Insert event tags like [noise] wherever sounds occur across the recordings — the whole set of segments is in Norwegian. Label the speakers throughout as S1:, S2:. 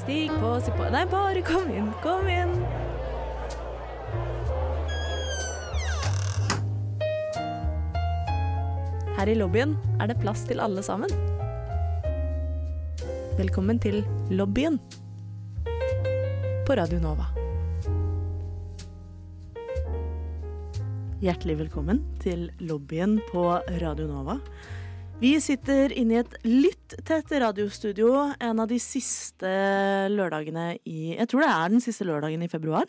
S1: Stig på, stig på Nei, bare kom inn, kom inn. Her i lobbyen er det plass til alle sammen. Velkommen til lobbyen på Radio Nova.
S2: Hjertelig velkommen til lobbyen på Radio Nova. Vi sitter inne i et litt tett radiostudio en av de siste lørdagene i Jeg tror det er den siste lørdagen i februar.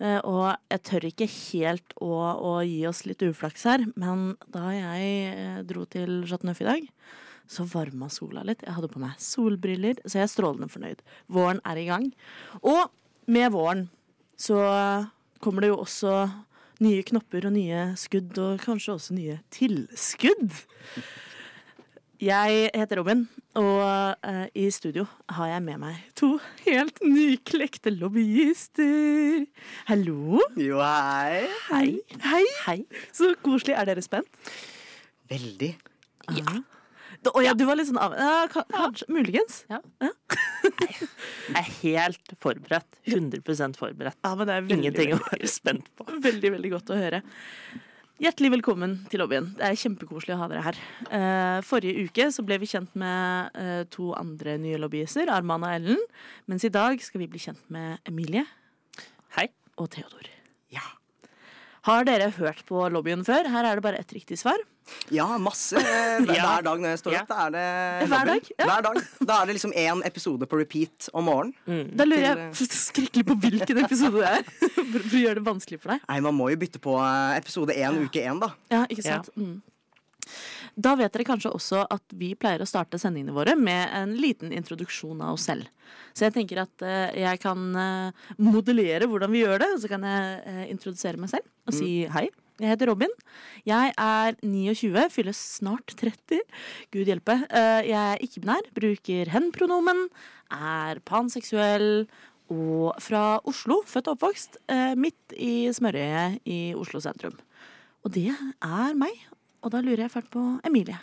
S2: Eh, Og jeg tør ikke helt å, å gi oss litt uflaks her, men da jeg eh, dro til Chateauneuf i dag, så varma sola litt. Jeg hadde på meg solbriller, så jeg er strålende fornøyd. Våren er i gang. Og med våren så kommer det jo også nye knopper og nye skudd, og kanskje også nye tilskudd. Jeg heter Robin, og eh, i studio har jeg med meg to helt nyklekte lobbyister. Hallo.
S3: Jo, hei.
S2: Hei. Hei. Så koselig. Er dere spent?
S3: Veldig.
S2: Ja. Å ja, du var litt sånn av... Ja, ka- kanskje, Muligens. Ja. [laughs]
S4: Jeg er helt forberedt. 100 forberedt.
S2: men det er veldig,
S4: Ingenting å
S2: veldig-
S4: være spent på.
S2: Veldig, veldig godt å høre. Hjertelig velkommen til lobbyen. Det er kjempekoselig å ha dere her. Eh, forrige uke så ble vi kjent med eh, to andre nye lobbyister, Arman og Ellen. Mens i dag skal vi bli kjent med Emilie
S4: Hei.
S2: og Theodor.
S3: Ja.
S2: Har dere hørt på lobbyen før? Her er det bare ett riktig svar. [laughs]
S3: Ja, masse. eh, Hver,
S4: Ja.
S3: hver dag når jeg står
S4: Ja.
S3: opp, da er det
S2: Hver dag, ja.
S3: Hver dag. Da er det liksom én episode på repeat om morgenen.
S2: Da lurer jeg [laughs] skrekkelig på hvilken episode det er. [laughs] For for å gjøre det vanskelig for deg.
S3: Nei, man må jo bytte på eh, episode én uke én, da.
S2: Ja, ikke sant? Mm. Da vet dere kanskje også at vi pleier å starte sendingene våre med en liten introduksjon av oss selv. Så jeg tenker at eh, jeg kan eh, modellere hvordan vi gjør det, og så kan jeg eh, introdusere meg selv og si hei. Jeg heter Robin. Jeg er 29, fyller snart 30. Gud hjelpe. Eh, Jeg er ikke-binær, bruker hen-pronomen, er panseksuell og fra Oslo, født og oppvokst, eh, midt i smørøyet i Oslo sentrum. Og det er meg. Og da lurer jeg fælt på Emilie.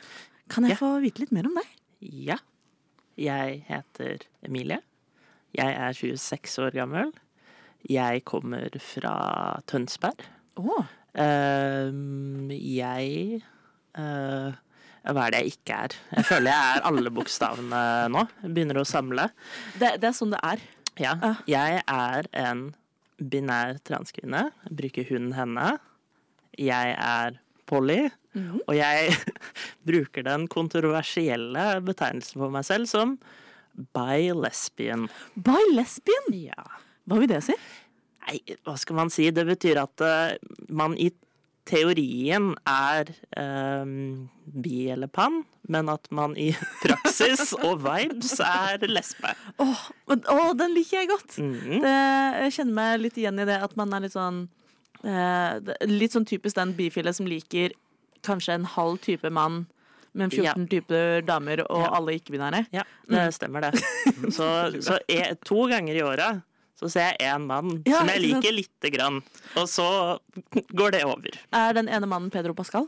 S2: Kan jeg
S4: Ja.
S2: få vite litt mer om deg?
S4: Ja. Jeg heter Emilie. Jeg er 26 år gammel. Jeg kommer fra Tønsberg.
S2: Oh.
S4: Ehm, jeg eh, Hva er det jeg ikke er? Jeg føler jeg er alle bokstavene nå. Jeg Begynner å samle.
S2: Det, det er sånn det er.
S4: Ja. Jeg er en binær transkvinne. Jeg Bruker hun henne. Jeg er Polly. Og jeg [laughs] bruker den kontroversielle betegnelsen for meg selv som bi-lesbian.
S2: By lesbian!
S4: Ja.
S2: Hva vil det si?
S4: Nei, hva skal man si? Det betyr at eh, man i teorien er ehm, bi eller pan, men at man i [laughs] praksis og vibes er lesbe.
S2: Åh, men- åh, den liker jeg godt!
S4: Mhm.
S2: Det, jeg kjenner meg litt igjen i det at man er litt sånn eh, det- Litt sånn typisk den bifile som liker kanskje en halv type mann, men 14 typer damer og
S4: Ja.
S2: alle ikke-binære.
S4: Ja, det stemmer
S2: [laughs]
S4: det. Så, så e- to ganger i året så ser jeg én mann
S2: Ja,
S4: som jeg
S2: ikke sant?
S4: liker lite grann. Og så går det over.
S2: Er den ene mannen Pedro Pascal?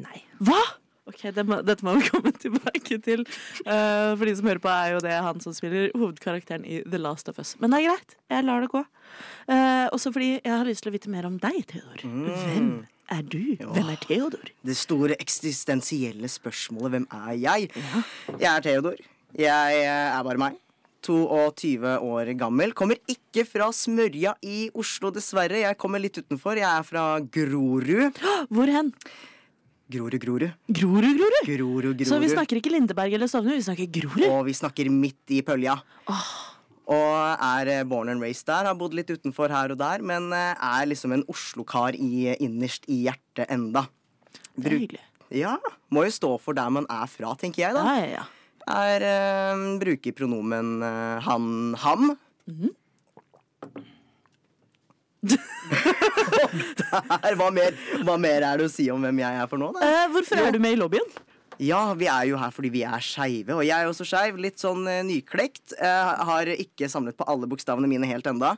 S4: Nei.
S2: Hva?! Ok, det må, Dette må vi komme tilbake til. Eh, for de som hører på, er jo det han som spiller hovedkarakteren i The Last of Us. Men det er greit. Jeg lar det gå. Eh, også fordi jeg har lyst til å vite mer om deg, Theodor. Hvem er du? Hvem er Theodor?
S3: Det store eksistensielle spørsmålet 'Hvem er jeg?' Jeg er Theodor. Jeg eh, er bare meg. 22 år gammel. Kommer ikke fra Smørja i Oslo, dessverre. Jeg kommer litt utenfor. Jeg er fra
S2: [gasps]
S3: Grorud.
S2: Hvor hen?
S3: Grorud, Grorud.
S2: Grorud, Grorud!
S3: Grorud, Grorud.
S2: Så vi snakker ikke Lindeberg eller Stovner, vi snakker Grorud.
S3: Og vi snakker midt i pølja. Og er eh, born and raised der. Har bodd litt utenfor her og der, men eh, er liksom en Oslo-kar i- innerst i hjertet enda.
S2: Det er hyggelig.
S3: Ja, Må jo stå for der man er fra, tenker jeg,
S2: Ja,
S3: da.
S2: ja, ja.
S3: Er, eh, bruker pronomen eh, han, ham. [laughs] Og der, hva, mer, hva mer er det å si om hvem jeg er for nå, da?
S2: Eh, hvorfor er du med i lobbyen?
S3: Ja, vi er jo her fordi vi er skeive, og jeg er også skeiv. Litt sånn eh, nyklekt. Eh, har ikke samlet på alle bokstavene mine helt enda.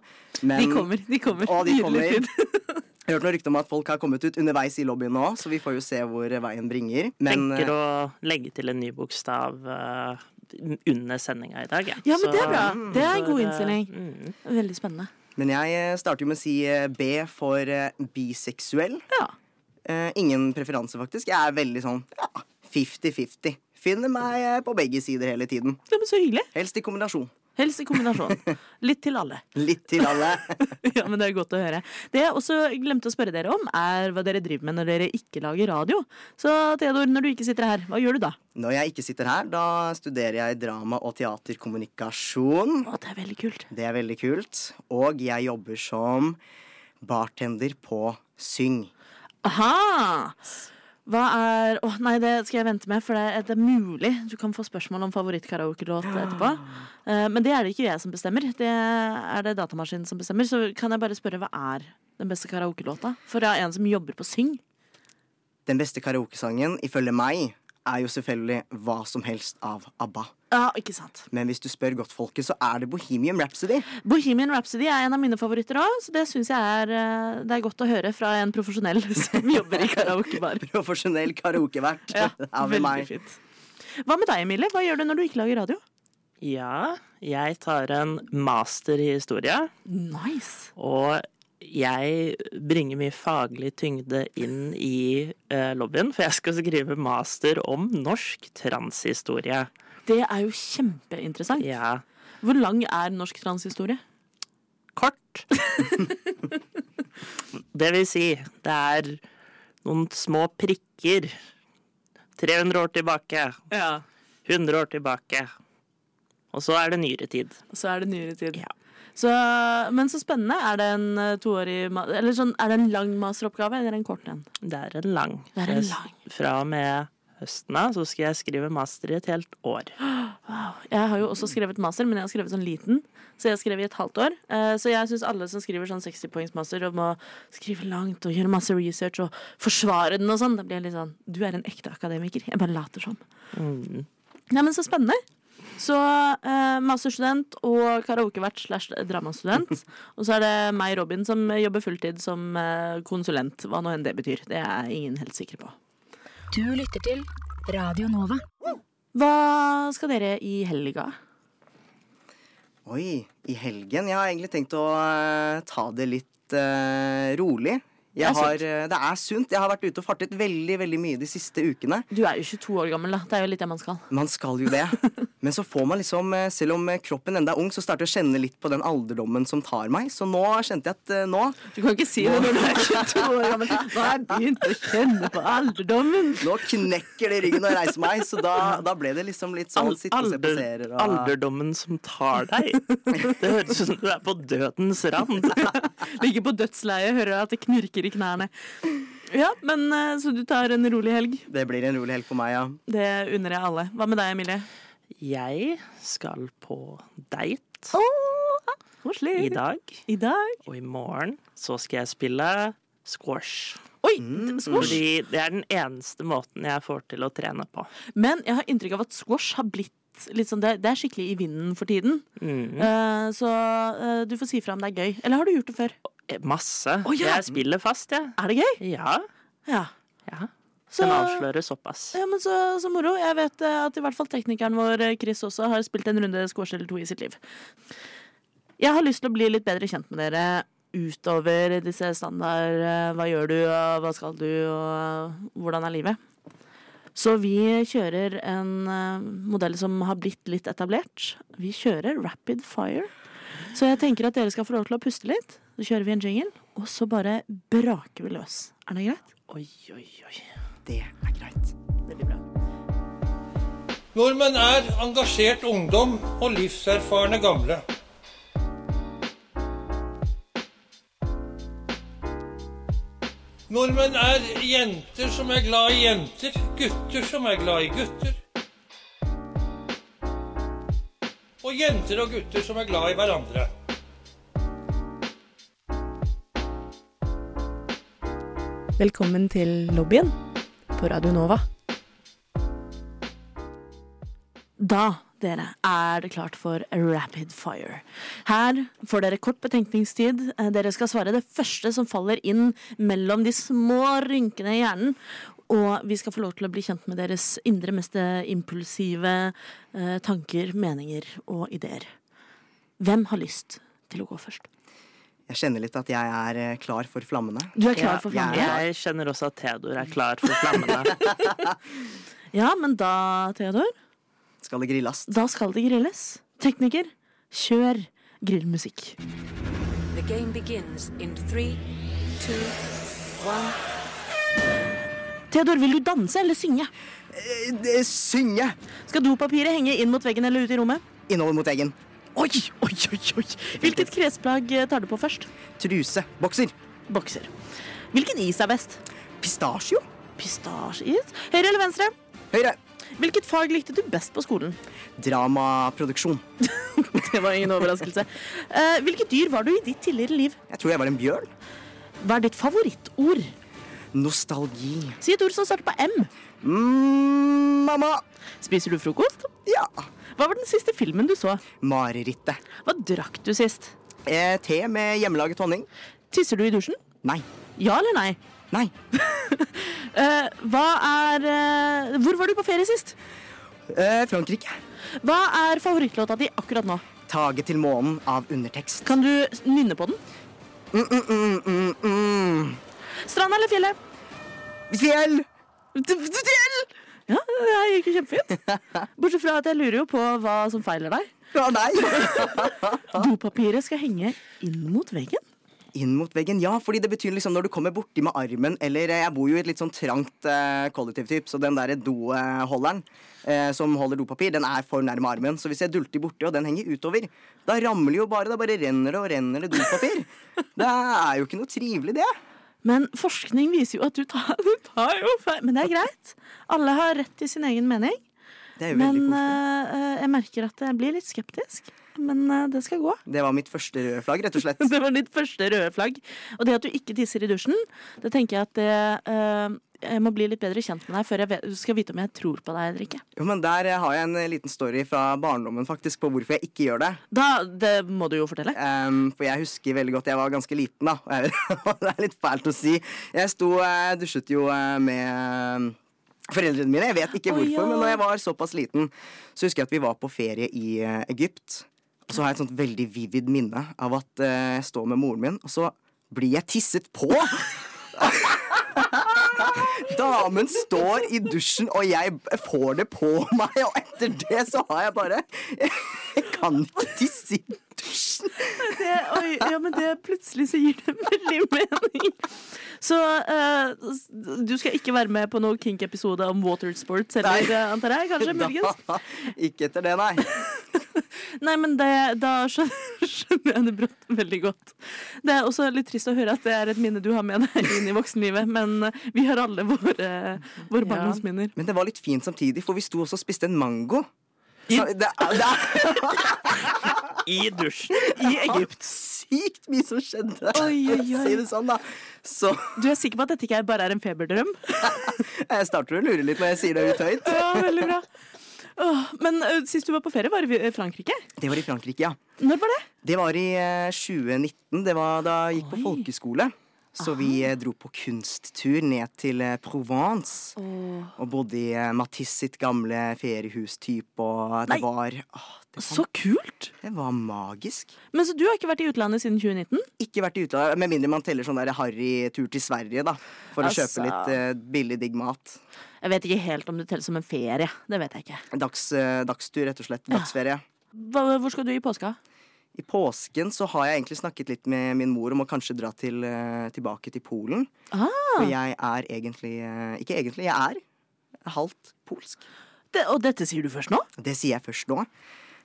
S3: Men
S2: De kommer. de kommer.
S3: Å, de
S2: Nydelig
S3: kommer.
S2: tid.
S3: Jeg har hørt noe rykte om at folk har kommet ut underveis i lobbyen nå, så vi får jo se hvor eh, veien bringer. Men
S4: Tenker
S3: eh,
S4: å legge til en ny bokstav eh, under sendinga i dag.
S2: Ja, men det er
S4: Så-
S2: bra. Det er en god
S4: eh,
S2: innstilling.
S4: mm.
S2: Veldig spennende.
S3: men jeg eh, starter jo med å si eh, B for eh, biseksuell.
S2: Ja.
S3: Eh, ingen preferanse, faktisk. Jeg er veldig sånn ja, 50-50. Finner meg eh, på begge sider hele tiden.
S2: ja, men så hyggelig.
S3: Helst i kombinasjon.
S2: Helst i kombinasjon. Litt til alle.
S3: Litt til alle.
S2: [laughs] Ja, men Det er godt å høre. Det jeg også glemte å spørre dere om, er hva dere driver med når dere ikke lager radio. Så Theodor, når du ikke sitter her, hva gjør du da?
S3: Når jeg ikke sitter her, da studerer jeg drama- og teaterkommunikasjon.
S2: Å, det er veldig kult.
S3: Det er veldig kult. Og jeg jobber som bartender på Syng.
S2: Aha! Hva er Å nei, det skal jeg vente med, for det er, det er mulig du kan få spørsmål om favorittkaraokelåt etterpå. Eh, Men det er det ikke jeg som bestemmer, det er det datamaskinen som bestemmer. Så kan jeg bare spørre hva er den beste karaokelåta? For det er en som jobber på Syng.
S3: Den beste karaokesangen, ifølge meg, er jo selvfølgelig hva som helst av ABBA.
S2: Ja, ikke sant.
S3: Men hvis du spør godt folket, så er det Bohemian Rhapsody. [laughs]
S2: Bohemian Rhapsody er en av mine favoritter òg, så det syns jeg er, eh, det er godt å høre fra en profesjonell [laughs] som jobber i
S3: [laughs]
S2: karaokebar.
S3: Profesjonell karaokevert.
S2: Ja,
S3: [laughs] av
S2: veldig
S3: meg.
S2: fint. Hva med deg, Emilie? Hva gjør du når du ikke lager radio?
S4: Ja, jeg tar en master i historie,
S2: Nice.
S4: og jeg bringer mye faglig tyngde inn i eh, lobbyen, for jeg skal skrive master om norsk transhistorie.
S2: Det er jo kjempeinteressant.
S4: Ja,
S2: Hvor lang er norsk transhistorie?
S4: kort. [laughs] det vil si, det er noen små prikker 300 år tilbake,
S2: Ja.
S4: 100 år tilbake, og så er det nyere tid.
S2: Så er det nyere tid.
S4: Ja.
S2: Så, men så spennende. Er det en eh, toårig ma- Eller sånn, er det en lang masteroppgave eller en kort en?
S4: Det er en lang.
S2: Det er en
S4: Så jeg-
S2: lang.
S4: Fra og med høsten av så skal jeg skrive master i et helt
S3: [gasps]
S4: år.
S2: Jeg har jo også skrevet master, men jeg har skrevet sånn liten. Så jeg skrev i et halvt år. Eh, Så jeg syns alle som skriver sånn 60-poengsmaster og må skrive langt og gjøre masse research og forsvare den og sånn, da blir jeg litt sånn Du er en ekte akademiker. Jeg bare later som. Nei, men så spennende. Så eh, masterstudent og karaokevert slash dramastudent. Og så er det meg, Robin, som jobber fulltid som eh, konsulent. Hva nå enn det betyr. Det er ingen helt sikre på.
S5: Du lytter til Radio Nova.
S2: Hva skal dere i helga?
S3: Oi, i helgen. Jeg har egentlig tenkt å eh, ta det litt eh, rolig. Jeg
S2: Det er
S3: har, eh, det er sunt. Jeg har vært ute og fartet veldig veldig mye de siste ukene.
S2: Du er jo 22 år gammel, da. Det er jo litt det man skal.
S3: Man skal
S4: [laughs]
S3: jo det. Men så får man liksom, eh, selv om eh, kroppen enda er ung, så starter jeg å kjenne litt på den alderdommen som tar meg. Så nå kjente jeg at eh, nå,
S2: Du kan ikke si det når du er 22 år gammel. Nå har jeg begynt å kjenne på alderdommen.
S3: nå knekker det i ryggen og reiser meg. Så da, da ble det liksom litt sånn
S4: Al
S3: sitte og se på
S4: alder
S3: serier og
S4: alderdommen som
S3: [laughs]
S4: tar deg. Det høres ut som du er på dødens rand.
S3: [laughs]
S2: Ligger på dødsleiet, hører at det knirker i knærne. Ja, men eh, Så du tar en rolig helg.
S3: Det blir en rolig helg for meg, ja.
S2: Det unner jeg alle. Hva med deg, Emilie?
S4: Jeg skal på date
S2: Koselig.
S4: i dag,
S2: I dag.
S4: og i morgen så skal jeg spille squash.
S2: Oi,
S4: Mm.
S2: squash!
S4: Fordi det er den eneste måten jeg får til å trene på.
S2: Men jeg har inntrykk av at squash har blitt litt sånn Det, det er skikkelig i vinden for tiden.
S4: Mm.
S2: Eh, så eh, du får si fra om det er gøy. Eller har du gjort det før?
S4: Eh, Masse.
S2: Å, ja.
S4: Jeg spiller fast, jeg.
S2: Er det gøy?
S4: Ja.
S2: Ja.
S4: ja.
S2: Så-
S4: Kan avsløre såpass.
S2: Ja, men så, så moro. Jeg vet eh, at i hvert fall teknikeren vår, eh, Chris, også har spilt en runde squash eller to i sitt liv. Jeg har lyst til å bli litt bedre kjent med dere utover disse standard eh, Hva gjør du, og hva skal du, og hvordan er livet? Så vi kjører en eh, modell som har blitt litt etablert. Vi kjører rapid fire. Så jeg tenker at dere skal få lov til å puste litt. Så kjører vi en jingle, og så bare braker vi løs. Er det greit?
S4: Oi, oi, oi.
S3: Det er greit.
S6: Nordmenn er engasjert ungdom og livserfarne gamle. Nordmenn er jenter som er glad i jenter, gutter som er glad i gutter. Og jenter og gutter som er glad i hverandre.
S1: Velkommen til lobbyen på Radio Nova.
S2: Da dere er det klart for rapid fire. Her får dere kort betenkningstid. Eh, Dere skal svare det første som faller inn mellom de små rynkene i hjernen. Og vi skal få lov til å bli kjent med deres indre, mest eh, impulsive eh, tanker, meninger og ideer. Hvem har lyst til å gå først?
S3: Jeg kjenner litt at jeg er eh, klar for flammene.
S2: Du er klar
S4: Ja,
S2: for
S3: jeg
S2: flammene?
S3: er
S4: Jeg kjenner også at Theodor er klar for flammene.
S2: Ja, men da, Theodor,
S3: Skal det grilles?
S2: da skal det grilles. Tekniker, kjør grillmusikk.
S7: The game begins in three, two, one.
S2: Theodor, vil du danse eller synge?
S3: Eh, det- Synge!
S2: Skal dopapiret henge inn mot veggen eller ut i rommet?
S3: Innover mot eggen.
S2: Oi, oi, oi, oi. Hvilket klesplagg eh, tar du på først?
S3: Truse. Bokser.
S2: Bokser. Hvilken is er best?
S3: Pistasjo.
S2: Pistasjeis? Høyre eller venstre?
S3: Høyre.
S2: Hvilket fag likte du best på skolen? [laughs]
S3: Dramaproduksjon.
S2: Det var ingen overraskelse. Eh, hvilket dyr var du i ditt tidligere liv?
S3: Jeg tror jeg var en bjørn.
S2: Hva er ditt favorittord?
S3: Nostalgi.
S2: Si et ord som starter på M.
S3: Mm, mamma.
S2: Spiser du frokost?
S3: Ja.
S2: Hva var den siste filmen du så?
S3: Marerittet.
S2: Hva drakk du sist?
S3: Eh, te med hjemmelaget honning.
S2: Tisser du i dusjen?
S3: Nei.
S2: Ja eller nei?
S3: Nei.
S2: Eh, hva er eh, Hvor var du på ferie sist?
S3: Eh, Frankrike.
S2: Hva er favorittlåta di akkurat nå?
S3: Taget til månen av undertekst.
S2: Kan du s- nynne på den?
S3: Mm, mm, mm, mm, mm.
S2: Stranda eller fjellet?
S3: Fjell!
S2: D- d- Fjell! Ja, det her gikk jo [laughs] kjempefint. Bortsett fra at jeg lurer jo på hva som feiler deg.
S3: Å nei!
S2: Dopapiret skal henge inn mot veggen.
S3: Inn mot veggen, ja, fordi det betyr liksom når du kommer borti med armen Eller eh, jeg bor jo i et litt sånn trangt eh, kollektivtyp, så den derre doholderen eh, som holder dopapir, den er for nærme armen. Så hvis jeg dulter borti, og den henger utover, da ramler jo bare. Da bare renner det og renner det dopapir. Det er jo ikke noe trivelig, det.
S2: Men forskning viser jo at du tar, [laughs] du tar jo feil. Men det er greit. Alle har rett til sin egen mening.
S3: Det er jo
S2: Men
S3: veldig koselig.
S2: eh, jeg merker at jeg blir litt skeptisk. Men eh, det skal gå.
S3: Det var mitt første røde flagg, rett og slett.
S2: [laughs] Det var ditt første røde flagg. Og det at du ikke tisser i dusjen, det tenker jeg at det eh, Jeg må bli litt bedre kjent med deg før jeg vet, skal vite om jeg tror på deg eller ikke.
S3: Jo, men der eh, har jeg en eh, liten story fra barndommen faktisk på hvorfor jeg ikke gjør det.
S2: Da, [laughs] Det må du jo fortelle.
S3: Ehm, for jeg husker veldig godt Jeg var ganske liten, da. [laughs] Og det er litt fælt å si. Jeg sto eh, dusjet jo eh, med foreldrene mine. Jeg vet ikke
S2: Å,
S3: hvorfor,
S2: ja.
S3: men da jeg var såpass liten, så husker jeg at vi var på ferie i eh, Egypt. Og så har jeg et sånt veldig vivid minne av at eh, jeg står med moren min, og så blir jeg tisset på! [laughs] Damen står i dusjen, og jeg får det på meg, og etter det så har jeg bare [laughs] Jeg kan ikke tisse i
S2: [laughs]
S3: dusjen!
S2: Det, oi, ja, men det plutselig så gir det veldig [laughs] mening. Så eh, s- du skal ikke være med på noen kink-episode om watersports heller,
S3: Nei.
S2: eh, antar jeg? [laughs] Kanskje, muligens?
S3: Da, ikke etter det, nei.
S2: Nei, men det, da skjønner, [laughs] skjønner jeg det brått veldig godt. Det er også litt trist å høre at det er et minne du har med deg inn i voksenlivet, men eh, vi har alle våre, eh, våre barndomsminner.
S3: Men det var litt fint samtidig, for vi sto også og spiste en mango. Så det, er- det er
S4: I dusjen.
S2: [laughs] I Egypt.
S3: sykt mye som skjedde.
S2: Oi, oi, oi.
S3: [laughs] Si det sånn, da. Så
S2: Du er sikker på at dette ikke er- bare er en feberdrøm?
S3: jeg starter å lure litt når jeg sier det ut høyt.
S2: Ja, veldig bra. [laughs] Åh, men eh, sist du var på ferie, var det i Frankrike?
S3: Det var i Frankrike, ja.
S2: Når var det?
S3: Det var i eh, 2019. Det var da jeg gikk på folkeskole. Så vi eh, dro på kunsttur ned til eh, Provence. Og bodde i eh, Matisse sitt gamle feriehus-type, og det
S2: Nei.
S3: var åh, det,
S2: Så kult!
S3: det var magisk.
S2: Men så Altså, du har ikke vært i utlandet siden 2019?
S3: ikke vært i utlandet, med mindre man teller sånn der harry tur til Sverige, da. For å
S2: Altså.
S3: kjøpe litt eh, billig, digg mat.
S2: Jeg vet ikke helt om det teller som en ferie. Det vet jeg ikke.
S3: Dags, eh, dagstur, rett og slett. Dagsferie.
S2: Hva, hvor skal du i påska?
S3: I påsken så har jeg egentlig snakket litt med min mor om å kanskje dra til, eh, tilbake til Polen.
S2: Ah.
S3: For jeg er egentlig eh, Ikke egentlig, jeg er halvt polsk.
S2: Det, og dette sier du først nå?
S3: Det sier jeg først nå.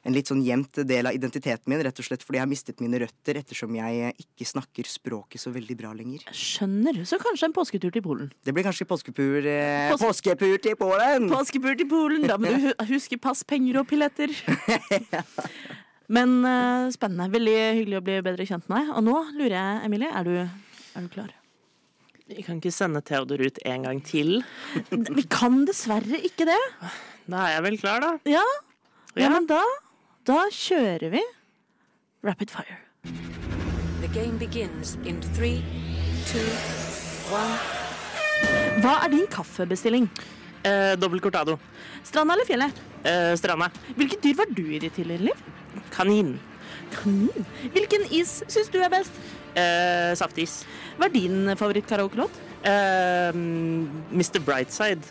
S3: En litt sånn gjemt del av identiteten min, rett og slett fordi jeg har mistet mine røtter ettersom jeg eh, ikke snakker språket så veldig bra lenger.
S2: Skjønner. Så kanskje en påsketur til Polen.
S3: Det blir kanskje påskepur, eh,
S2: Påske-
S3: påskepur til Polen!
S2: Påskebur til Polen, da må du hu- huske pass, penger og [laughs] pilletter. Men eh, spennende. Veldig hyggelig å bli bedre kjent med deg. Og nå lurer jeg, Emilie, er du, er du klar?
S4: Vi kan ikke sende Theodor ut en gang til.
S2: Vi kan dessverre ikke det.
S4: Da er jeg vel klar, da.
S2: Ja, Ja, men da, da kjører vi Rapid Fire.
S7: The game begins in three, two, one.
S2: Hva er din kaffebestilling?
S4: Eh, Dobbel cortado.
S2: Stranda eller fjellet?
S4: Eh, stranda.
S2: Hvilket dyr var du i ditt tidligere liv?
S4: Kanin.
S2: Kanin. Hvilken is syns du er best?
S4: Eh, saftis.
S2: Hva er din favorittkaraokelåt?
S4: Eh, Mr. Brightside.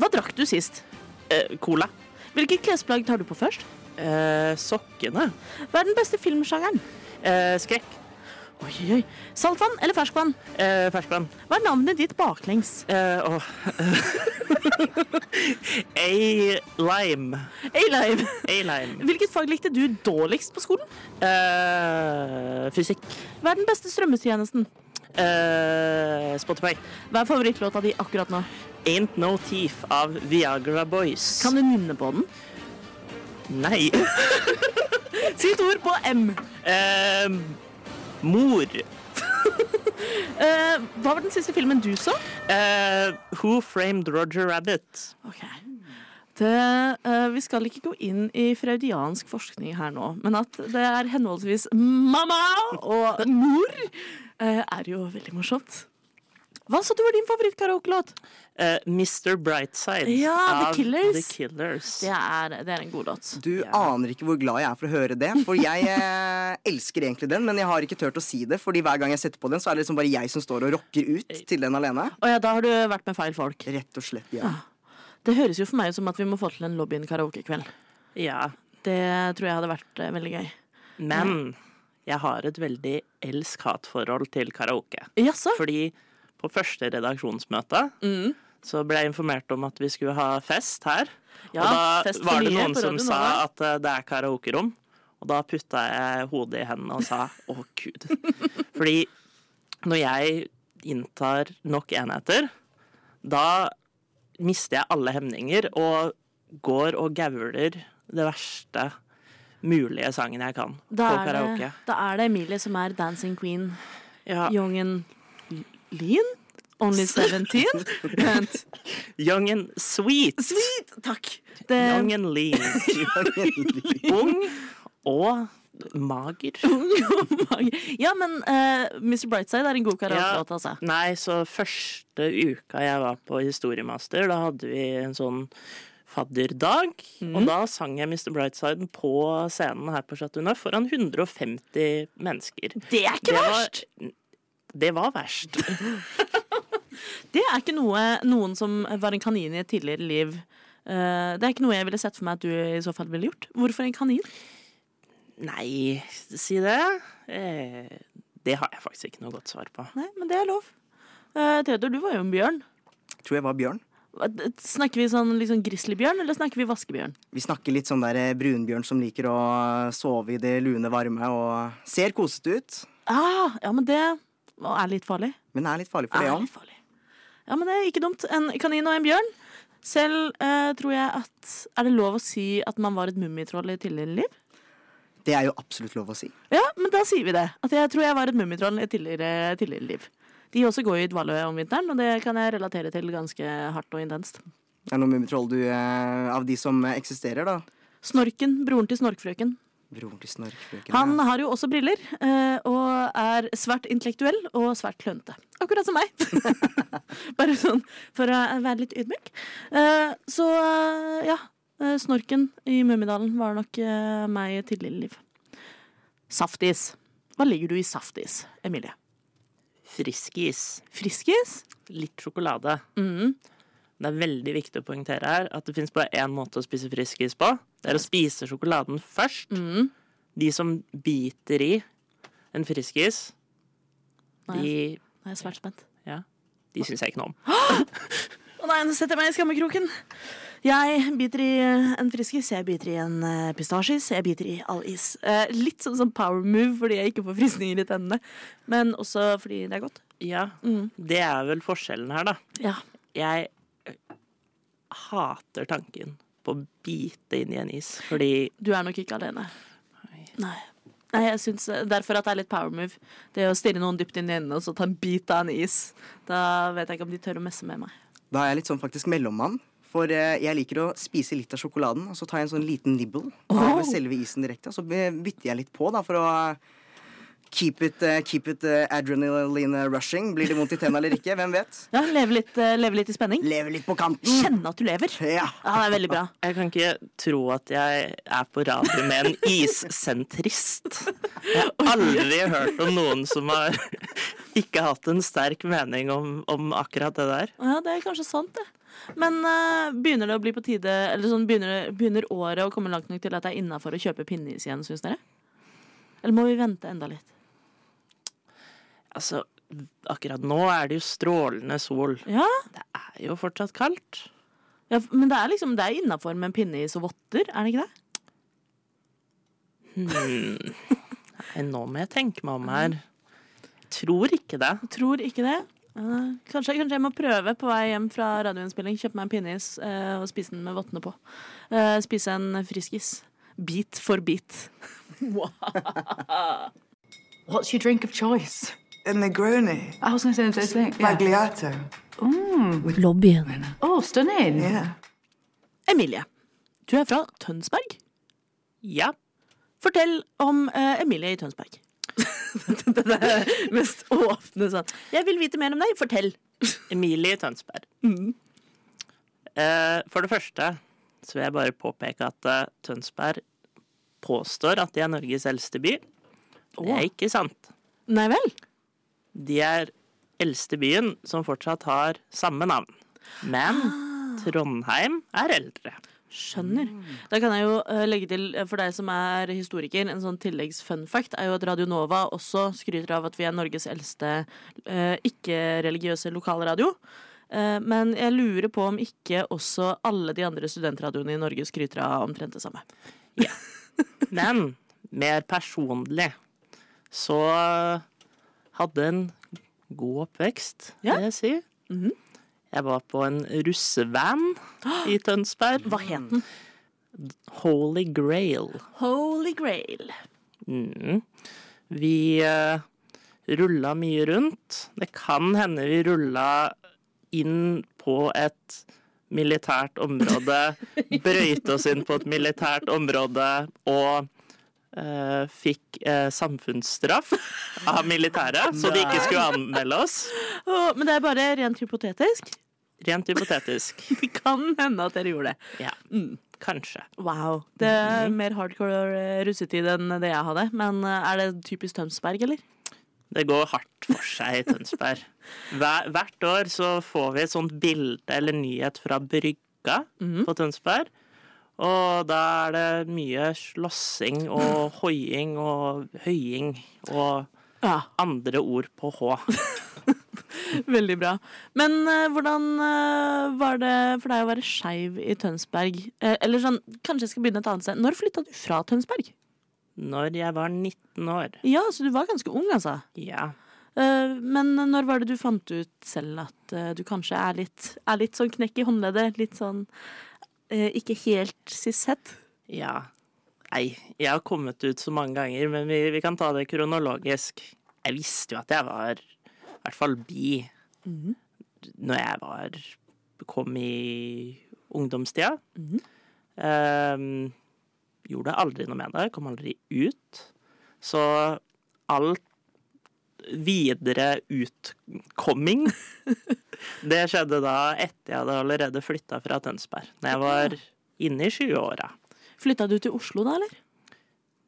S2: Hva drakk du sist?
S4: Eh, cola.
S2: Hvilket klesplagg tar du på først?
S4: Eh, sokkene.
S2: Hva er den beste filmsjangeren?
S4: Eh, skrekk.
S2: Oi, oi, oi. Saltvann eller ferskvann?
S4: Eh, ferskvann.
S2: Hva er navnet ditt baklengs?
S4: Eh, åh. [laughs] A-lime.
S2: A-Live.
S4: A-lime.
S2: Hvilket fag likte du dårligst på skolen?
S4: Eh, fysikk.
S2: Hva er den beste strømmetjenesten?
S4: Eh, Spotify.
S2: Hva er favorittlåta di akkurat nå?
S4: Ain't No Thief av Viagra Boys.
S2: Kan du nynne på den?
S4: Nei.
S2: [laughs] Si et ord på M.
S4: Eh, mor.
S2: Eh, hva var den siste filmen du så?
S4: Eh, who framed Roger Rabbit?
S2: Ok. Det, eh, vi skal ikke gå inn i freudiansk forskning her nå, men at det er henholdsvis mamma og mor, eh, er jo veldig morsomt. Hva sa du var din favorittkaraokelåt?
S4: Eh, Mr. Brightside
S2: Ja, The
S4: av
S2: Killers.
S4: The Killers.
S2: Det er, det er en god låt.
S3: Du aner ikke hvor glad jeg er for å høre det. For jeg eh, elsker egentlig den, men jeg har ikke turt å si det. Fordi hver gang jeg setter på den, så er det liksom bare jeg som står og rocker ut til den alene.
S2: Å ja, da har du vært med feil folk.
S3: Rett og slett, ja.
S2: Det høres jo for meg ut som at vi må få til en lobbyen karaokekveld.
S4: Ja.
S2: Det tror jeg hadde vært eh, veldig gøy.
S4: Men jeg har et veldig elsk-hat-forhold til karaoke.
S2: Jaså?
S4: Fordi på første redaksjonsmøte
S2: Mm.
S4: så ble jeg informert om at vi skulle ha fest her.
S2: Ja,
S4: og
S2: fest for
S4: da var det
S2: nye
S4: noen
S2: på
S4: som
S2: Radio
S4: sa
S2: Nova.
S4: at eh, det er karaokerom. Og da putta jeg hodet i hendene og sa [laughs] å, gud. Fordi når jeg inntar nok enheter, da mister jeg alle hemninger og går og gauler det verste mulige sangen jeg kan
S2: Da
S4: på
S2: er, det,
S4: karaoke.
S2: da er det Emilie som er dancing queen.
S4: Ja,
S2: Youngen L- Lean? Only [laughs] 17? Vent.
S4: Young and sweet.
S2: Sweet! Takk. Det,
S4: Young and lean. ung og mager.
S2: ja, men eh, Mr. Brightside er en god karaokelåt, altså.
S4: Nei, så første uka jeg var på historiemaster, da hadde vi en sånn fadderdag. Og da sang jeg Mr. Brightside på scenen her på Chateau Neuf foran 150 mennesker.
S2: Det er ikke verst!
S4: Var, det var verst.
S2: Det er ikke noe noen som var en kanin i et tidligere liv eh, Det er ikke noe jeg ville sett for meg at du i så fall ville gjort. Hvorfor en kanin?
S4: Nei, si det. Eh, det har jeg faktisk ikke noe godt svar på.
S2: Nei, men det er lov. Uh, Theodor, du var jo en bjørn.
S3: Tror jeg var Bjørn.
S2: Hva- Snakker vi sånn liksom grizzlybjørn, eller snakker vi vaskebjørn?
S3: Vi snakker litt sånn der eh, brunbjørn som liker å sove i det lune varme og ser kosete ut,
S2: Ah, ja, men det er litt farlig.
S3: men er litt farlig for det
S2: Er
S3: òg.
S2: litt farlig. Ja, men det er ikke dumt. En kanin og en bjørn. Selv eh, tror jeg at Er det lov å si at man var et mummitroll i tidligere liv?
S3: Det er jo absolutt lov å si.
S2: Ja, men da sier vi det. At jeg tror jeg var et mummitroll i tidligere, tidligere liv. De også går jo i dvale om vinteren, og det kan jeg relatere til ganske hardt og intenst.
S3: Er det noen mummitroll du eh, av de som eh, eksisterer, da?
S2: Snorken, broren til Snorkfrøken.
S3: Broren til Snorkfrøken.
S2: Han
S3: ja.
S2: har jo også briller, eh, og er svært intellektuell og svært klønete. Akkurat som meg. [laughs] Bare sånn for å være litt ydmyk. Eh, Så eh, ja, eh, snorken i Mummidalen var nok eh, meg i tidligere liv. Saftis. Hva ligger du i saftis, Emilie?
S4: Friskis.
S2: Friskis?
S4: litt sjokolade. Det er veldig viktig å poengtere her at det fins bare én måte å spise friskis på. Det er å spise sjokoladen først. De som biter i en friskis, de,
S2: Nå er jeg svært spent.
S4: ja, de syns jeg ikke noe om.
S2: Å nei, nå setter jeg meg i skammekroken. Jeg biter i eh, en friskis, jeg biter i en eh, pistasjeis, jeg biter i all is. Eh, litt sånn som power move fordi jeg ikke får frysninger i tennene, men også fordi det er godt.
S4: Ja, Mm. Det er vel forskjellen her, da.
S2: Ja.
S4: Jeg øh, hater tanken på å bite inn i en is, fordi
S2: Du er nok ikke alene. Nei. Nei, jeg synes eh, Derfor at det er litt power move. Det å stirre noen dypt inn i øynene og så ta en bit av en is. Da vet jeg ikke om de tør å messe med meg.
S3: Da er jeg litt sånn faktisk mellommann. For eh, jeg liker å spise litt av sjokoladen, og så tar jeg en sånn liten nibble av selve isen direkte. Og så by- bytter jeg litt på, da, for å eh, keep it, eh, keep it eh, adrenaline rushing. Blir det vondt i tennene eller ikke? Hvem vet?
S2: Ja, leve litt, eh, leve litt i spenning.
S3: Leve litt på kanten.
S2: Kjenne at du lever.
S3: Ja.
S2: Ja, det er veldig bra.
S4: Jeg kan ikke tro at jeg er på radio med en issentrist. Jeg har aldri hørt om noen som har ikke hatt en sterk mening om, om akkurat det der.
S2: Ja, det er kanskje sant, det. Men eh, begynner det å bli på tide Eller sånn, begynner, begynner året å komme langt nok til at det er innafor å kjøpe pinneis igjen, syns dere? Eller må vi vente enda litt?
S4: Altså, akkurat nå er det jo strålende sol.
S2: Ja,
S4: Det er jo fortsatt kaldt.
S2: ja f- men det er liksom Det er innafor med en pinneis og votter, er det ikke det?
S4: Nei, nå må jeg tenke meg om her. Jeg tror ikke det.
S2: Tror ikke det. Eh, kanskje, kanskje jeg må prøve på vei hjem fra radioinnspilling. Kjøpe meg en pinneis eh, og spise den med vottene på. Eh, spise en friskis. Bit for bit.
S8: What's your drink of choice?
S9: A Negroni.
S8: I was going to say the same thing. Yeah. Mm.
S9: Magliato.
S1: Lobbyen.
S8: Oh, stunning.
S9: Yeah.
S2: Emilie, du er fra Tønsberg.
S4: Ja.
S2: Fortell om eh, Emilie i Tønsberg. [laughs] det er det mest åpne sånn. Jeg vil vite mer om deg. Fortell.
S4: Emilie i Tønsberg.
S2: Mm.
S4: Eh, for det første så vil jeg bare påpeke at eh, Tønsberg påstår at de er Norges eldste by. Det er ikke sant.
S2: Nei vel?
S4: De er eldste byen som fortsatt har samme navn. Men
S2: Ah.
S4: Trondheim er eldre.
S2: Skjønner. Da kan jeg jo eh, legge til, eh, for deg som er historiker, en sånn tilleggs-funfact er jo at Radio Nova også skryter av at vi er Norges eldste eh, ikke-religiøse lokalradio. Eh, men jeg lurer på om ikke også alle de andre studentradioene i Norge skryter av omtrent det samme.
S4: Men mer personlig så hadde en god oppvekst,
S2: Ja. Mhm.
S4: vil jeg si. Jeg var på en russevan i Tønsberg.
S2: Hva het den?
S4: Holy Grail.
S2: Holy Grail.
S4: Mm. Vi uh, rulla mye rundt. Det kan hende vi rulla inn på et militært område, brøyte oss inn på et militært område og eh, fikk eh, samfunnsstraff av militæret, så de ikke skulle anmelde oss.
S2: Å, men det er bare rent hypotetisk. [laughs]
S4: Rent hypotetisk.
S2: Det kan hende at dere gjorde det.
S4: Ja, kanskje.
S2: Wow. Det er mer hardcore eh, russetid enn det jeg hadde. Men eh, er det typisk Tønsberg, eller?
S4: Det går hardt for seg i Tønsberg. Hver, hvert år så får vi et sånt bilde eller nyhet fra brygga på Tønsberg. Og da er det mye slåssing og hoiing og høying og
S2: Ja.
S4: andre ord på H.
S2: [laughs] Veldig bra. Men eh, hvordan eh, var det for deg å være skeiv i Tønsberg? Eh, eller sånn, kanskje jeg skal begynne et annet sted. Når flytta du fra Tønsberg?
S4: Når jeg var 19 år
S2: Ja, så du var ganske ung, altså.
S4: Ja.
S2: Eh, men når var det du fant ut selv at eh, du kanskje er litt, er litt sånn knekk i håndleddet? Litt sånn eh, ikke helt cis-het?
S4: ja. Nei, jeg har kommet ut så mange ganger, men vi, vi kan ta det kronologisk. Jeg visste jo at jeg var i hvert fall bi når jeg var kom i ungdomstida. Ehm, gjorde aldri noe med det, kom aldri ut. Så alt videre utkomming Det skjedde da etter jeg hadde allerede flytta fra Tønsberg. Når jeg var inne i 20-åra.
S2: Flytta du til Oslo da, eller?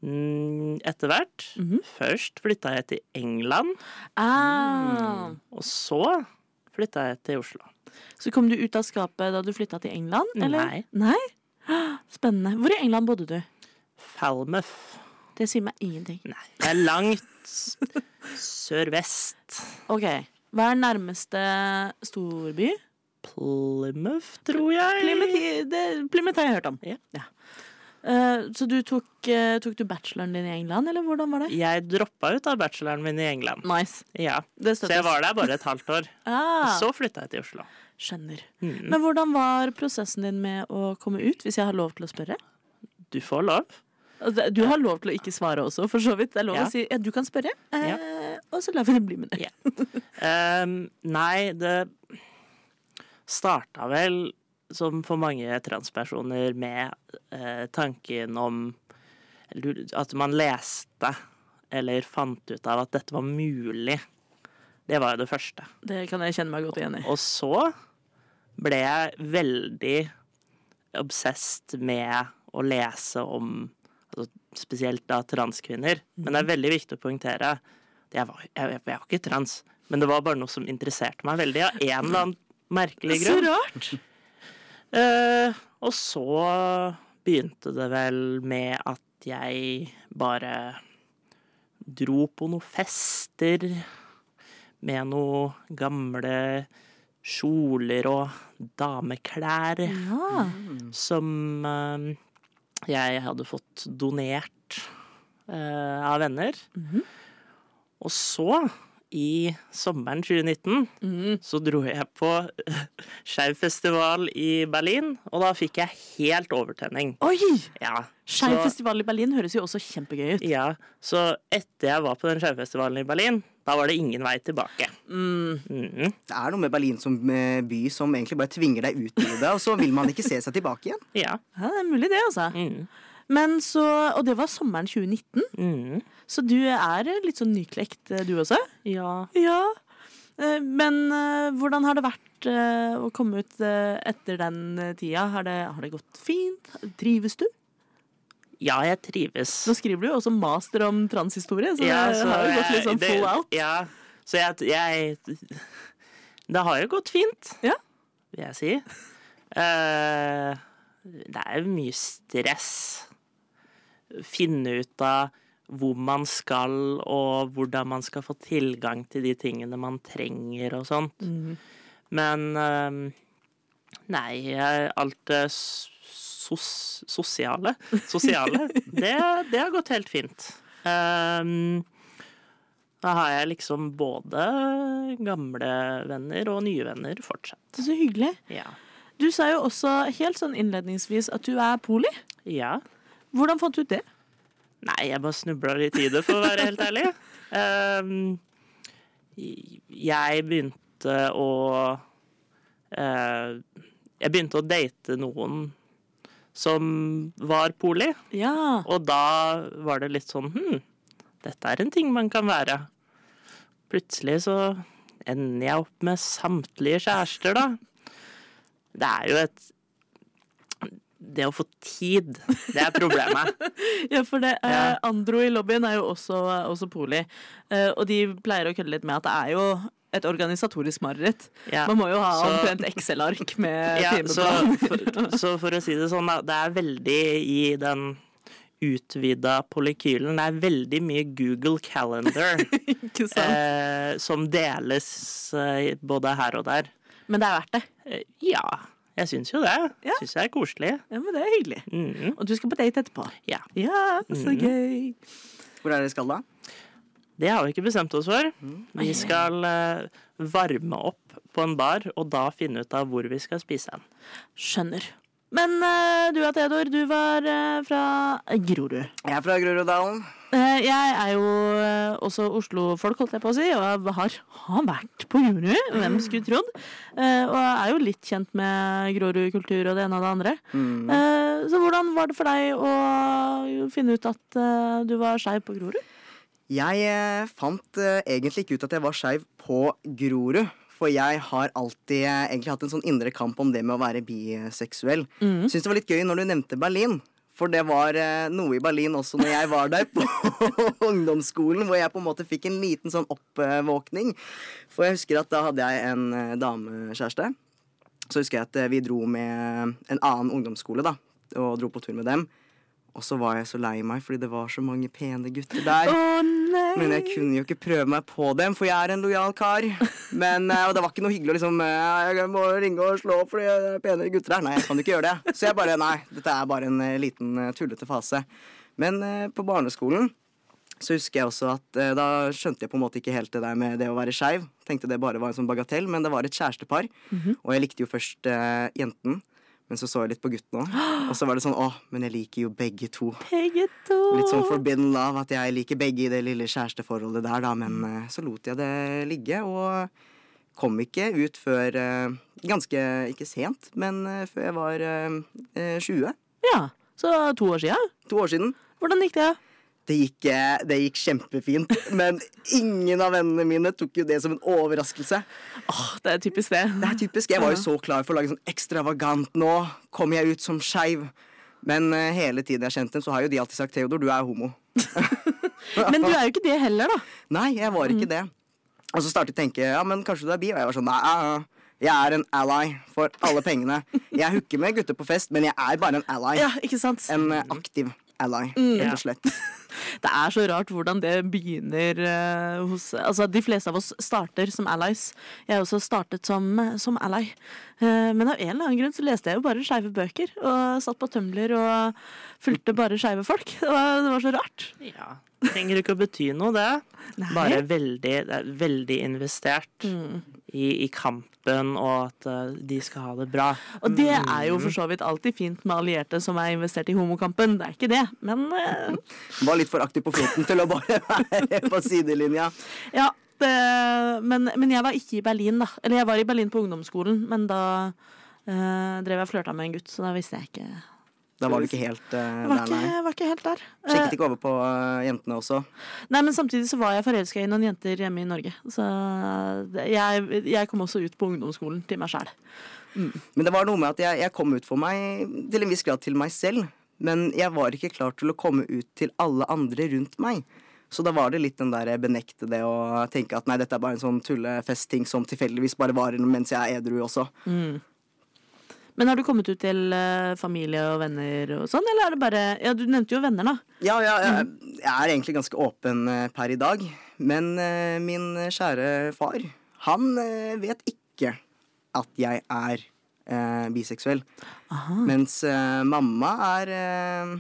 S4: Mm, Etter hvert.
S2: Mhm.
S4: Først flytta jeg til England,
S2: Ah.
S4: og så flytta jeg til Oslo.
S2: Så kom du ut av skapet da du flytta til England? Eller?
S4: Nei.
S2: [gasps] Spennende. Hvor i England bodde du?
S4: Falmouth.
S2: Det sier meg ingenting.
S4: Nei, det er langt s- sørvest.
S2: Ok, Hva er nærmeste storby?
S4: Plymouth, tror jeg.
S2: Plymouth det- Plymouth har jeg hørt om.
S4: Ja.
S2: Eh, så du tok, eh, tok du bacheloren din i England, eller hvordan var det?
S4: Jeg droppa ut av bacheloren min i England.
S2: Nice.
S4: Ja.
S2: Det
S4: Så
S2: støttes.
S4: jeg var der bare et halvt
S2: [laughs]
S4: år.
S2: Ah,
S4: Så Mm. flytta jeg til Oslo.
S2: skjønner. Men hvordan var prosessen din med å komme ut, hvis jeg har lov til å spørre?
S4: Du får lov.
S2: Altså, Du har lov til å ikke svare også, for så vidt. Det er lov
S4: Ja.
S2: å si ja, du kan spørre, eh,
S4: Ja.
S2: og så lar vi det bli med det.
S4: Ja. Ehm, nei, det starta vel som for mange transpersoner, med eh, tanken om eller At man leste eller fant ut av at dette var mulig. Det var jo det første.
S2: Det kan jeg kjenne meg godt igjen i.
S4: Og så ble jeg veldig obsessed med å lese om altså spesielt da transkvinner. Men det er veldig viktig å poengtere at jeg var, jeg, jeg var ikke trans, men det var bare noe som interesserte meg veldig av en eller annen merkelig
S2: Så
S4: grunn.
S2: rart!
S4: Eh, og så begynte det vel med at jeg bare dro på noen fester med noen gamle kjoler og dameklær
S2: Ja.
S4: som eh, jeg hadde fått donert eh, av venner. Og så, i sommeren 2019, så dro jeg på [laughs] Skeiv festival i Berlin, og da fikk jeg helt overtenning.
S2: Oi!
S4: Ja,
S2: Skeiv
S4: så-
S2: festival i Berlin høres jo også kjempegøy ut.
S4: ja, så etter jeg var på den skjevfestivalen i Berlin, da var det ingen vei tilbake. Mhm.
S3: Det er noe med Berlin som eh, by som egentlig bare tvinger deg ut i det, og så vil man ikke se seg tilbake igjen.
S4: Ja.
S2: Ja, det er mulig, det, altså.
S4: Mhm.
S2: Men så, Og det var sommeren 2019,
S4: Mhm.
S2: så du er litt sånn nyklekt, du også?
S4: ja.
S2: Ja. Eh, Men eh, hvordan har det vært eh, å komme ut eh, etter den eh, tida? Har det, har det gått fint? Trives du?
S4: Ja, jeg trives.
S2: Nå skriver du jo også master om transhistorie, så det har jo gått litt sånn
S4: det-
S2: full out.
S4: Ja, så jeg, jeg [laughs] Det har jo gått fint,
S2: Ja.
S4: vil jeg si. Eh, det er jo mye stress. Finne ut av hvor man skal, og hvordan man skal få tilgang til de tingene man trenger og sånt.
S2: Mhm.
S4: Men eh, Nei, jeg- alt det s- sos sosiale Sosiale. det, det har gått helt fint. Um, da har jeg liksom både gamle venner og nye venner fortsatt.
S2: Så hyggelig.
S4: Ja.
S2: Du sa jo også helt sånn innledningsvis at du er poli.
S4: ja.
S2: Hvordan fant du ut det?
S4: Nei, jeg bare snubla litt i det, for å være helt ærlig. Um, jeg begynte å eh, Jeg begynte å date noen som var poli.
S2: Ja.
S4: Og da var det litt sånn Hm, dette er en ting man kan være. Plutselig så ender jeg opp med samtlige kjærester, da. Det er jo et Det å få tid, det er problemet.
S2: [laughs] Ja, for det, eh,
S4: Ja.
S2: Andro i lobbyen er jo også, også poli. Eh, og de pleier å kødde litt med at det er jo et organisatorisk mareritt.
S4: Ja.
S2: Man må jo ha
S4: Så-
S2: omtrent Excel-ark [laughs] med
S4: Ja, så,
S2: timeplan.
S4: for, så for å si det sånn, da, det er veldig i den utvida polykylen Det er veldig mye Google
S2: [laughs]
S4: Calendar
S2: Ikke sant?
S4: eh, som deles eh, både her og der.
S2: Men det er verdt det.
S4: Eh, Ja, jeg syns jo det.
S2: Ja. Mm-hmm.
S4: Syns jeg er koselig.
S2: Ja, men det er hyggelig.
S4: Mhm,
S2: Og du skal på date etterpå. Mm.
S4: ja.
S2: Ja, så gøy.
S3: Hvor er dere skal da?
S4: Det har vi ikke bestemt oss for.
S2: Mm.
S4: Vi skal eh, varme opp på en bar, og da finne ut av hvor vi skal spise hen.
S2: Skjønner. Men eh, du da, Theodor, du var eh, fra Grorud.
S3: Jeg er fra Groruddalen.
S2: Eh, jeg er jo eh, også Oslo-folk, holdt jeg på å si, og har, har vært på Grorud, hvem skulle trodd. Eh, og er jo litt kjent med Grorud-kultur og det ene og det andre. Eh, så hvordan var det for deg å finne ut at eh, du var skeiv på Grorud?
S3: Jeg eh, fant eh, egentlig ikke ut at jeg var skeiv på Grorud. For jeg har alltid eh, egentlig hatt en sånn indre kamp om det med å være biseksuell. Syns det var litt gøy når du nevnte Berlin. For det var eh, noe i Berlin også når jeg var der på [laughs] ungdomsskolen, hvor jeg på en måte fikk en liten sånn oppvåkning. For jeg husker at da hadde jeg en eh, damekjæreste. Så husker jeg at eh, vi dro med en annen ungdomsskole, da, og dro på tur med dem. Og så var jeg så lei meg fordi det var så mange pene gutter der.
S2: nei!
S3: Men jeg kunne jo ikke prøve meg på dem, for jeg er en lojal kar. Men, eh, og det var ikke noe hyggelig å liksom eh, Jeg må ringe og slå opp fordi det er penere gutter her. Nei, jeg kan jo ikke gjøre det. Så jeg bare Nei, dette er bare en eh, liten eh, tullete fase. Men eh, på barneskolen så husker jeg også at eh, da skjønte jeg på en måte ikke helt det der med det å være skeiv. Tenkte det bare var en sånn bagatell, men det var et kjærestepar. Og jeg likte jo først eh, jenten, men så så jeg litt på gutten òg. Og så var det sånn Å, men jeg liker jo begge to.
S2: Begge to.
S3: Litt sånn forbidden love, at jeg liker begge i det lille kjæresteforholdet der, da. Men eh, så lot jeg det ligge, og kom ikke ut før eh, ganske Ikke sent, men eh, før jeg var eh, eh, 20.
S2: Ja, Så to år sia.
S3: To år siden.
S2: Hvordan gikk det?
S3: Det gikk, eh, det gikk kjempefint, [laughs] men ingen av vennene mine tok jo det som en overraskelse.
S2: Åh, det er typisk det.
S3: Det er typisk. Jeg var jo så klar for å lage sånn ekstravagant nå. Kommer jeg ut som skeiv? Men eh, hele tiden jeg har kjent dem, så har jo de alltid sagt 'Theodor, du er homo'.
S2: Men du er jo ikke det heller, da.
S3: Nei, jeg var
S2: Mm.
S3: ikke det. Og så startet jeg å tenke ja, men kanskje du er bi. Og jeg var sånn nei, nei, nei. jeg er en ally for alle pengene. Jeg hooker med gutter på fest, men jeg er bare en ally.
S2: Ja, Mm. ikke sant?
S3: En eh, aktiv ally, rett og slett.
S2: Det er så rart hvordan det begynner eh, hos Altså, de fleste av oss starter som allies. Jeg har også startet som, som ally. Eh, men av en eller annen grunn så leste jeg jo bare skeive bøker. Og satt på Tumblr og fulgte bare skeive folk. [laughs] Det var, det var så rart.
S4: Ja. Trenger ikke å bety noe, det. Bare veldig, det er veldig investert
S2: Mm.
S4: i, i kampen, og at eh, de skal ha det bra.
S2: Og det er jo for så vidt alltid fint med allierte som er investert i homokampen. Det er ikke det, men eh,
S3: Var litt for aktiv på foten til å bare [laughs] være på sidelinja.
S2: Ja, det, men, men jeg var ikke i Berlin, da. Eller jeg var i Berlin på ungdomsskolen, men da eh, drev jeg og flørta med en gutt, så da visste jeg ikke Jeg
S3: Da var du ikke helt eh,
S2: var,
S3: der, nei.
S2: ikke, var ikke helt der.
S3: Sjekket ikke over på eh, jentene også.
S2: Eh, nei, men samtidig så var jeg forelska i noen jenter hjemme i Norge, så det- jeg, jeg kom også ut på ungdomsskolen til meg sjæl.
S3: Men det var noe med at jeg, jeg kom ut for meg til en viss grad til meg selv. Men jeg var ikke klar til å komme ut til alle andre rundt meg. Så da var det litt den der benekte det å tenke at nei, dette er bare en sånn tullefestting som tilfeldigvis bare varer mens jeg er edru også.
S2: Men har du kommet ut til eh, familie og venner og sånn, eller er det bare Ja, du nevnte jo venner, da.
S3: Ja, ja, jeg, jeg er egentlig ganske åpen eh, per i dag. Men eh, min kjære far, han eh, vet ikke at jeg er eh, biseksuell. Mens eh, mamma er eh,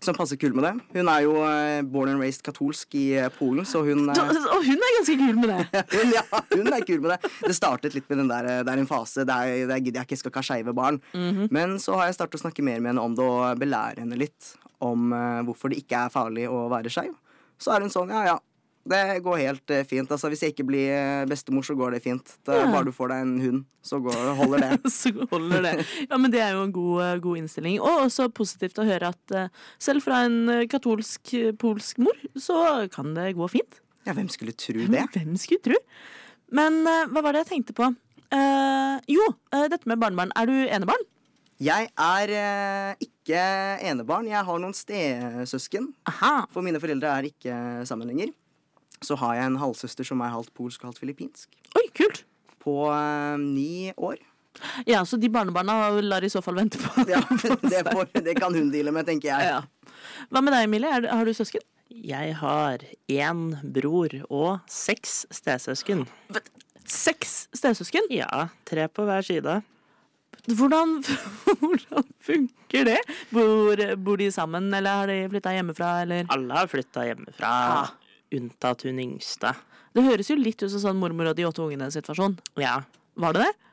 S3: som passer kul med det. Hun er jo eh, born and raised katolsk i eh, Polen, så hun eh,
S2: Du, og hun er ganske kul med det!
S3: hun, [laughs] ja, hun er kul med det. Det startet litt med den der eh, Det er en fase. Det er, det er, gidder jeg ikke, jeg skal ikke ha skeive barn. Men så har jeg startet å snakke mer med henne om det og belære henne litt om eh, hvorfor det ikke er farlig å være skeiv. Så er hun sånn, ja ja. Det går helt eh, fint. Altså, hvis jeg ikke blir eh, bestemor, så går det fint. Det er Bare du får deg en hund, så går, holder
S2: [laughs]
S3: det.
S2: [laughs] så holder det. Ja, men det er jo en god, god innstilling. Og også positivt å høre at eh, selv fra en eh, katolsk eh, polsk mor, så kan det gå fint.
S3: Ja, hvem skulle tro det?
S2: Hvem skulle tro? Men eh, hva var det jeg tenkte på? Eh, jo, eh, dette med barnebarn. Er du enebarn?
S3: Jeg er eh, ikke enebarn. Jeg har noen stesøsken.
S2: Aha.
S3: For mine foreldre er ikke sammen lenger. Så har jeg en halvsøster som er halvt polsk og halvt filippinsk.
S2: Oi, kult.
S3: på eh, ni
S2: [laughs]
S3: år.
S2: Ja, så de barnebarna lar i så fall vente på.
S3: Ja, [laughs] det, får, det kan hun deale med, tenker jeg.
S2: Ja. [laughs] Hva med deg, Emilie? Er, du- har du søsken?
S4: Jeg har én bror og seks stesøsken.
S2: Seks stesøsken.
S4: Ja, tre på hver side.
S2: Hvordan, [laughs] hvordan funker det? Bor, bor de sammen, eller har de flytta hjemmefra, eller?
S4: Alle har flytta hjemmefra, unntatt hun yngste.
S2: Det høres jo litt ut som sånn mormor og de åtte ungene-situasjon.
S4: Ja.
S2: Var det det?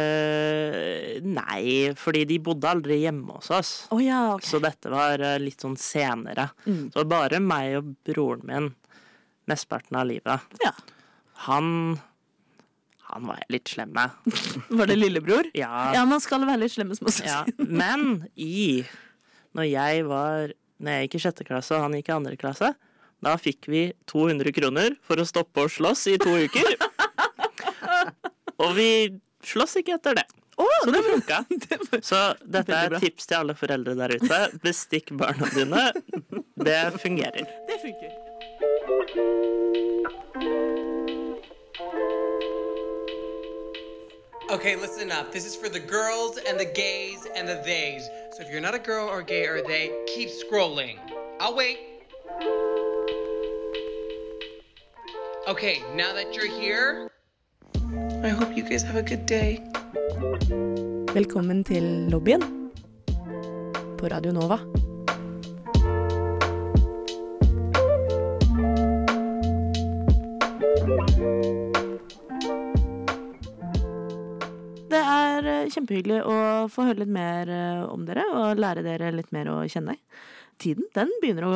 S4: Eh, nei, fordi de bodde aldri hjemme hos oss.
S2: Å ja, ok.
S4: Så dette var eh, litt sånn senere. Så det var bare meg og broren min mesteparten av livet.
S2: Ja.
S4: Han Han var jeg litt slem med.
S2: Var det lillebror?
S4: Ja.
S2: ja man skal være litt slemme små [laughs]
S4: Ja,
S2: søsken.
S4: men i Når jeg var Når jeg gikk i sjette klasse og han gikk i andre klasse, da fikk vi 200 kroner for å stoppe å slåss i to
S2: [laughs]
S4: uker. og vi slåss ikke etter det. så det funka. Så dette
S2: veldig
S4: er
S2: bra.
S4: et tips til alle foreldre der ute. Bestikk barna dine. Det fungerer.
S2: [laughs] Det funker.
S9: Okay, listen up. This is for the girls and the gays and the theys. So if you're not a girl or gay or they, keep scrolling. I'll wait. Okay, now that you're here, I hope you guys have a good day.
S1: Velkommen til lobbyen på Radio Nova.
S2: Det er eh, kjempehyggelig å få høre litt mer eh, om dere og lære dere litt mer å kjenne. Tiden den begynner å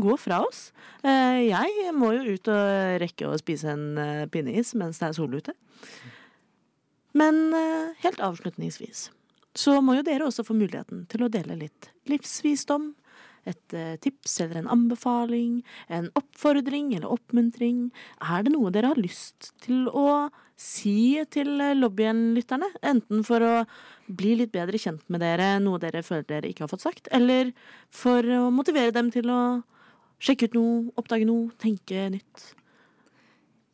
S2: gå fra oss. Eh, Jeg må jo ut og rekke å spise en eh, pinneis mens det er sol ute. Men eh, helt avslutningsvis så må jo dere også få muligheten til å dele litt livsvisdom. Et eh, tips eller en anbefaling, en oppfordring eller oppmuntring. Er det noe dere har lyst til å si til eh, lobbyen-lytterne? Enten for å bli litt bedre kjent med dere, noe dere føler dere ikke har fått sagt, eller for å motivere dem til å sjekke ut noe, oppdage noe, tenke nytt.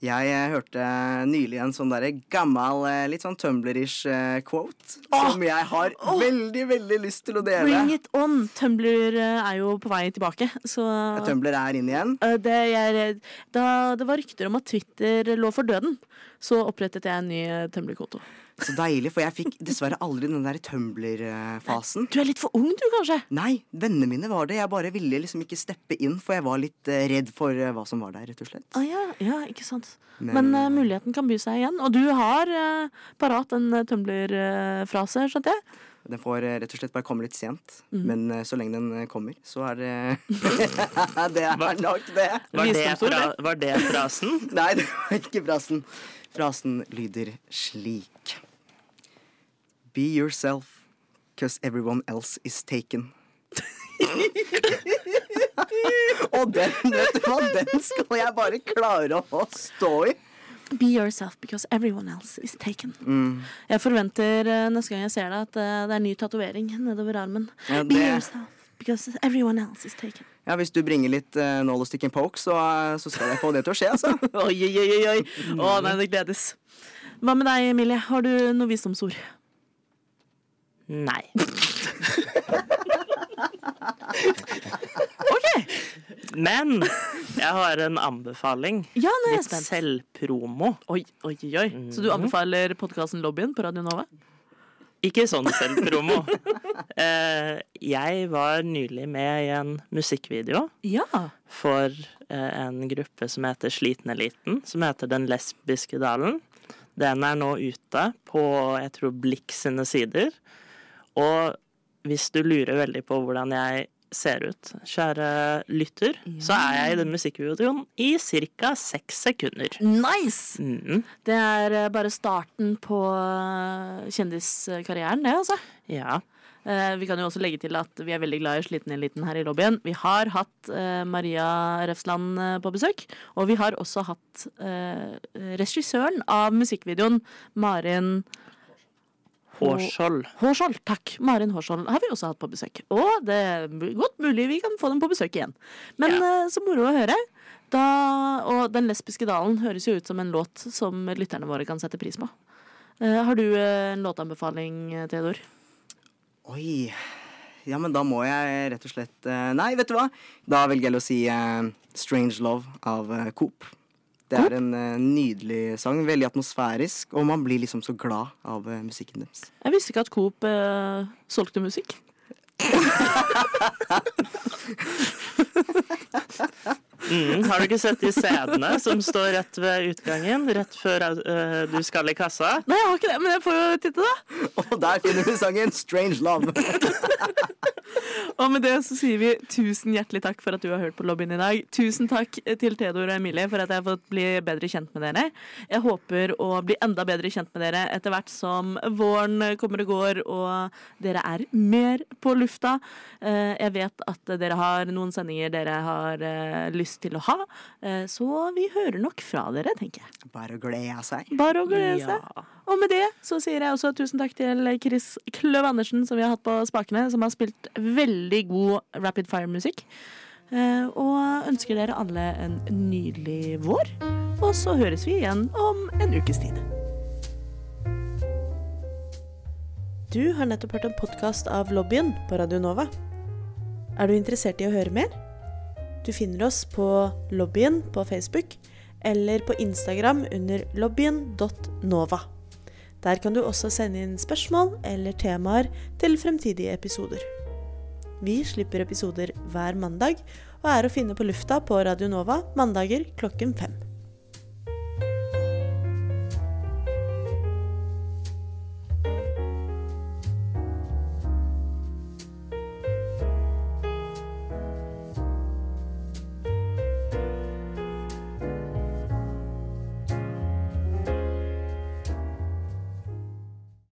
S3: Jeg eh, hørte nylig en sånn derre gammel, eh, litt sånn Tumblr-ish eh, quote. Som jeg har veldig, veldig lyst til å dele.
S2: Bring it on! Tumblr eh, er jo på vei tilbake, så
S3: Ja, Tumblr er inn igjen.
S2: Eh, Det, jeg, er- da det var rykter om at Twitter lå for døden, så opprettet jeg en ny eh, Tumblr-konto.
S3: Så deilig, for jeg fikk dessverre aldri den der Tumblr-fasen.
S2: Du er litt for ung, du, kanskje?
S3: Nei, vennene mine var det. Jeg bare ville liksom ikke steppe inn, for jeg var litt eh, redd for eh, hva som var der, rett og slett.
S2: Ah, ja, ja, ikke sant. Men,
S3: Men-
S2: eh, muligheten kan by seg igjen. Og du har eh, parat en eh, Tumblr-frase, skjønte jeg?
S3: Den får eh, rett og slett bare komme litt sent. Men eh, så lenge den eh, kommer, så er det Det er nok det.
S4: Var det,
S2: Visdomsord,
S4: fra, var det frasen?
S3: Nei, det var ikke frasen. Frasen lyder slik. Be yourself, cause everyone else is taken. [laughs] Og den, vet du hva, den skal jeg bare klare å stå i.
S2: Be yourself because everyone else is taken.
S3: Mm.
S2: Jeg forventer eh, neste gang jeg ser deg, at eh, det er ny tatovering nedover armen.
S3: Ja,
S2: Be
S3: det-
S2: yourself because everyone else is taken.
S3: Ja, Hvis du bringer litt uh, nål og stick and poke, så, eh, så skal jeg få det til å skje. altså.
S2: Oi, oi, oi, oi, oi.
S3: Mm.
S2: Å, nei, det gledes. Hva med deg, Emilie? Har du noe visdomsord?
S4: [laughs] Nei. Men jeg har en anbefaling.
S2: Ja, nå er jeg
S4: Litt
S2: spent.
S4: selvpromo. Mm.
S2: Oi, oi, oi. Så du anbefaler podkasten Lobbyen på Radio Nova?
S4: Ikke sånn selvpromo. [laughs] Eh, jeg var nylig med i en musikkvideo
S2: Ja.
S4: for eh, en gruppe som heter Sliteneliten, som heter Den lesbiske dalen. Den er nå ute på jeg tror Blikk sine sider. Og hvis du lurer veldig på hvordan jeg ser ut, kjære lytter, så er jeg i den musikkvideoen i ca. seks sekunder.
S2: Nice!
S4: Mm.
S2: Det er eh, bare starten på eh, kjendiskarrieren, det, altså.
S4: Ja.
S2: Eh, Vi kan jo også legge til at vi er veldig glad i Sliten eliten her i lobbyen. Vi har hatt eh, Maria Refsland eh, på besøk, og vi har også hatt eh, regissøren av musikkvideoen, Marin
S4: Hårskjold.
S2: Hårskjold, takk. Marin Hårskjold har vi også hatt på besøk. Og det er mu- godt mulig vi kan få dem på besøk igjen. Men eh, så moro å høre. Da, og Den lesbiske dalen høres jo ut som en låt som lytterne våre kan sette pris på. Eh, har du eh, en låtanbefaling, eh, Theodor?
S3: Oi. Ja, men da må jeg rett og slett eh, Nei, vet du hva? Da velger jeg å si eh, Strange Love av eh, Coop. Det er en eh, nydelig sang. Veldig atmosfærisk, og man blir liksom så glad av eh, musikken deres. [laughs]
S2: Jeg visste ikke at Coop eh, solgte musikk.
S4: Mm, har du ikke sett de scenene som står rett ved utgangen, rett før eh, du skal i kassa?
S2: Nei, jeg har ikke det, men jeg får jo titte, da.
S3: Og der finner vi sangen Strange Love. [laughs]
S2: Og med det så sier vi tusen hjertelig takk for at du har hørt på lobbyen i dag. Tusen takk eh, til Theodor og Emilie for at jeg har fått bli bedre kjent med dere. Jeg håper å bli enda bedre kjent med dere etter hvert som våren kommer og går og dere er mer på lufta. Eh, Jeg vet at dere har noen sendinger dere har eh, lyst til å ha, eh, så vi hører nok fra dere, tenker jeg.
S3: Bare å glede seg.
S2: Bare å glede seg.
S4: Ja.
S2: Og med det så sier jeg også tusen takk til Chris Kløv Andersen, som vi har hatt på spakene, som har spilt veldig god rapid fire-musikk. Eh, Og ønsker dere alle en nydelig vår. Og så høres vi igjen om en ukes tid. Du har nettopp hørt en podkast av Lobbyen på Radio Nova. Er du interessert i å høre mer? Du finner oss på Lobbyen på Facebook eller på Instagram under lobbyen.nova. Der kan du også sende inn spørsmål eller temaer til fremtidige episoder. Vi slipper episoder hver mandag og er å finne på lufta på Radio Nova mandager klokken fem.